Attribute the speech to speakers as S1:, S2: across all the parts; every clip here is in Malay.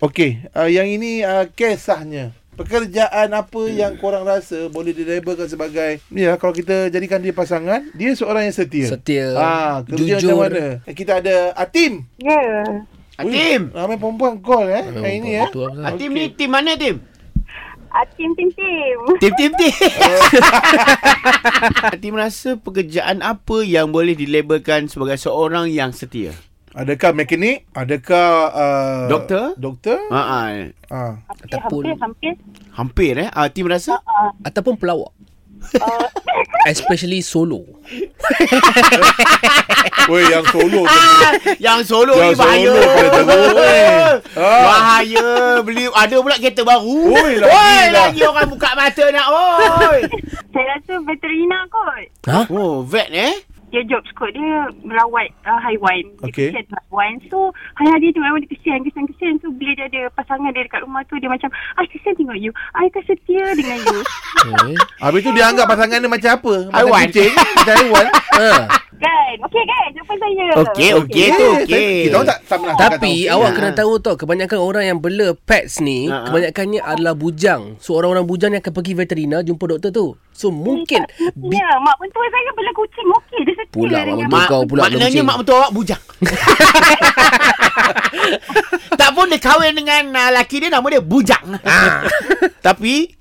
S1: Okey, uh, yang ini uh, kisahnya. Pekerjaan apa
S2: Hmm.
S1: yang korang rasa boleh dilabelkan sebagai ya kalau kita jadikan dia pasangan, dia seorang yang setia.
S2: Setia.
S1: Ah, kerja
S2: jujur.
S1: macam mana? Eh, Kita ada Atim.
S3: Ya. Yeah.
S1: Ui,
S4: Atim.
S1: ramai perempuan call eh
S2: Memang
S1: hari ini
S2: betul-
S1: ya.
S2: betul lah.
S4: Atim ni Ah, tim mana Tim?
S3: Tim tim tim.
S4: Tim tim tim. Atim rasa pekerjaan apa yang boleh dilabelkan sebagai seorang yang setia?
S1: Adakah mekanik? Adakah uh,
S4: Doktor?
S1: Doktor?
S4: Ha ah.
S1: Ah.
S2: Ataupun
S3: Eh, Hampir hampir.
S4: Hampir eh. Atim rasa?
S2: ataupun pelawak. Especially solo.
S1: Weh yang solo tu.
S4: yang solo
S1: Yang
S4: ni bahaya.
S1: solo paling teruk, eh. Ah.
S4: Bahaya. Beli ada pula kereta baru.
S1: Oi, lagi
S4: Oi,
S1: lah.
S4: lagi orang buka mata nak oi.
S3: Saya rasa veterina kot.
S2: Ha?
S4: oh, vet eh.
S3: Dia job kot dia merawat uh, haiwan. Dia
S1: Okey.
S3: kesian dengan haiwan. So hari-hari tu memang dia kesian, kesian-kesian. So bila dia ada pasangan dia dekat rumah tu dia macam, "Ai kesian tengok you. Ai akan setia dengan you."
S2: Okay.
S1: Habis tu dia anggap pasangan dia macam apa? Macam
S4: Haiwan.
S1: kucing, macam haiwan.
S2: Ha.
S3: kan? Okey kan? Jawapan saya.
S4: Okey, okey tu,
S1: Yeah,
S4: okey.
S1: Eh, Kita orang tak tak pernah cakap
S2: Tapi
S1: tak
S2: awak
S4: Ha.
S2: kena tahu tau Kebanyakan orang yang bela pets ni
S4: Ha, ha.
S2: Kebanyakannya adalah bujang So orang-orang bujang ni akan pergi veterina Jumpa doktor tu So mungkin bi-
S3: Ya, mak mentua saya bela kucing. Okey, dia setia
S2: Pula mak
S3: dengan
S2: mentua. kau pula
S4: Maknanya
S2: belum cing.
S4: mak mentua awak bujang. tak pun dia kahwin dengan uh, laki dia nama dia bujang.
S2: Ah.
S4: Tapi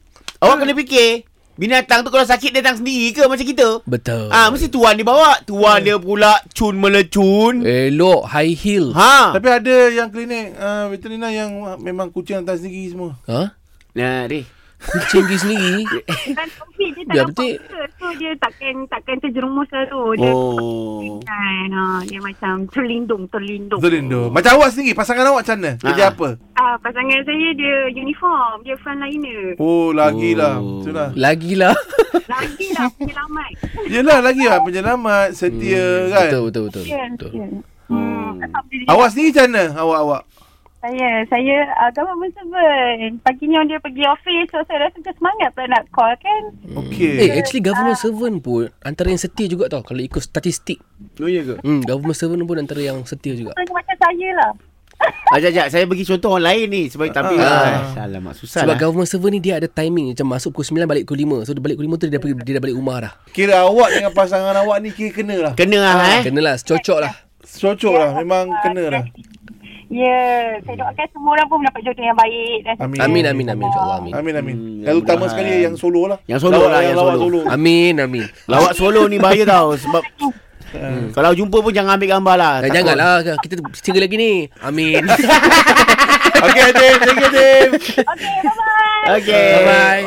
S4: awak kena fikir binatang tu kalau sakit dia datang sendiri ke macam kita?
S2: Betul
S4: Ah mesti tuan dia bawa. Tuan dia pula cun
S2: Eh.
S4: melecun.
S2: Elok high heel ha?
S4: Ha.
S1: Tapi ada yang klinik uh, veterina yang uh, memang kucing hantar sendiri semua.
S4: Nah, Rih.
S2: Kucing pergi Ha? sendiri
S3: dan COVID dia tak
S2: Ya,
S3: ya,
S2: betul.
S3: nampak muka. So dia takkan takkan terjerumus lah tu. Dia
S4: Oh.
S3: kan, ha, dia macam terlindung, terlindung.
S1: Betul Lindo. Macam awak sendiri, pasangan awak macam mana? Kerja
S4: Ah.
S1: apa?
S3: Ah, pasangan saya dia uniform, dia frontliner.
S1: Oh, lagilah.
S4: Oh.
S1: Itulah.
S2: Lagilah
S3: Lagi lah penyelamat.
S1: Yelah lagi lah penyelamat, setia hmm, kan.
S2: Betul betul betul,
S3: Ya,
S2: betul.
S3: ya. Hmm. Alhamdulillah.
S1: Awak sendiri macam mana? Awak awak.
S3: Saya, saya ah, agama berserban. Pagi ni dia pergi office, so saya rasa macam semangat pula nak call kan.
S1: Okey.
S2: Eh actually government servant pun Antara yang setia juga tau Kalau ikut statistik
S4: Oh ya ke?
S2: hmm, Government servant pun antara yang setia juga
S3: So dia macam saya lah.
S4: Ajak ajak Ah, saya bagi contoh orang lain ni sebab tapi
S1: Ah.
S4: ah. alamak susah
S2: Sebab
S4: lah.
S2: government servant ni dia ada timing Macam masuk pukul 9 balik pukul 5 So dia balik pukul 5 tu dia dah, pergi, dia dah balik rumah dah
S1: Kira awak dengan pasangan awak ni kira kena lah.
S4: Kena lah
S2: Ah,
S4: eh.
S2: Kenalah cocok lah
S1: Cocok lah. Memang kena lah.
S3: Ya, saya doakan semua orang pun mendapat jodoh yang baik. Dan
S1: Amin.
S2: Amin amin amin InsyaAllah amin
S1: Amin amin.
S4: Hmm,
S1: Yang utama
S4: mudah-mudahan.
S1: sekali yang solo lah.
S4: Yang solo
S1: Lawak-
S4: lah, yang
S1: lawak
S4: solo.
S2: Amin amin
S4: Lawak solo ni bahaya tau sebab Hmm. Kalau jumpa pun jangan ambil gambar lah
S2: Dah
S4: Takut.
S2: janganlah Eh, kita cerai lagi ni. Amin.
S1: Okey Adim, thank you Adim.
S3: Okay, bye-bye.
S4: Okay
S2: Bye bye.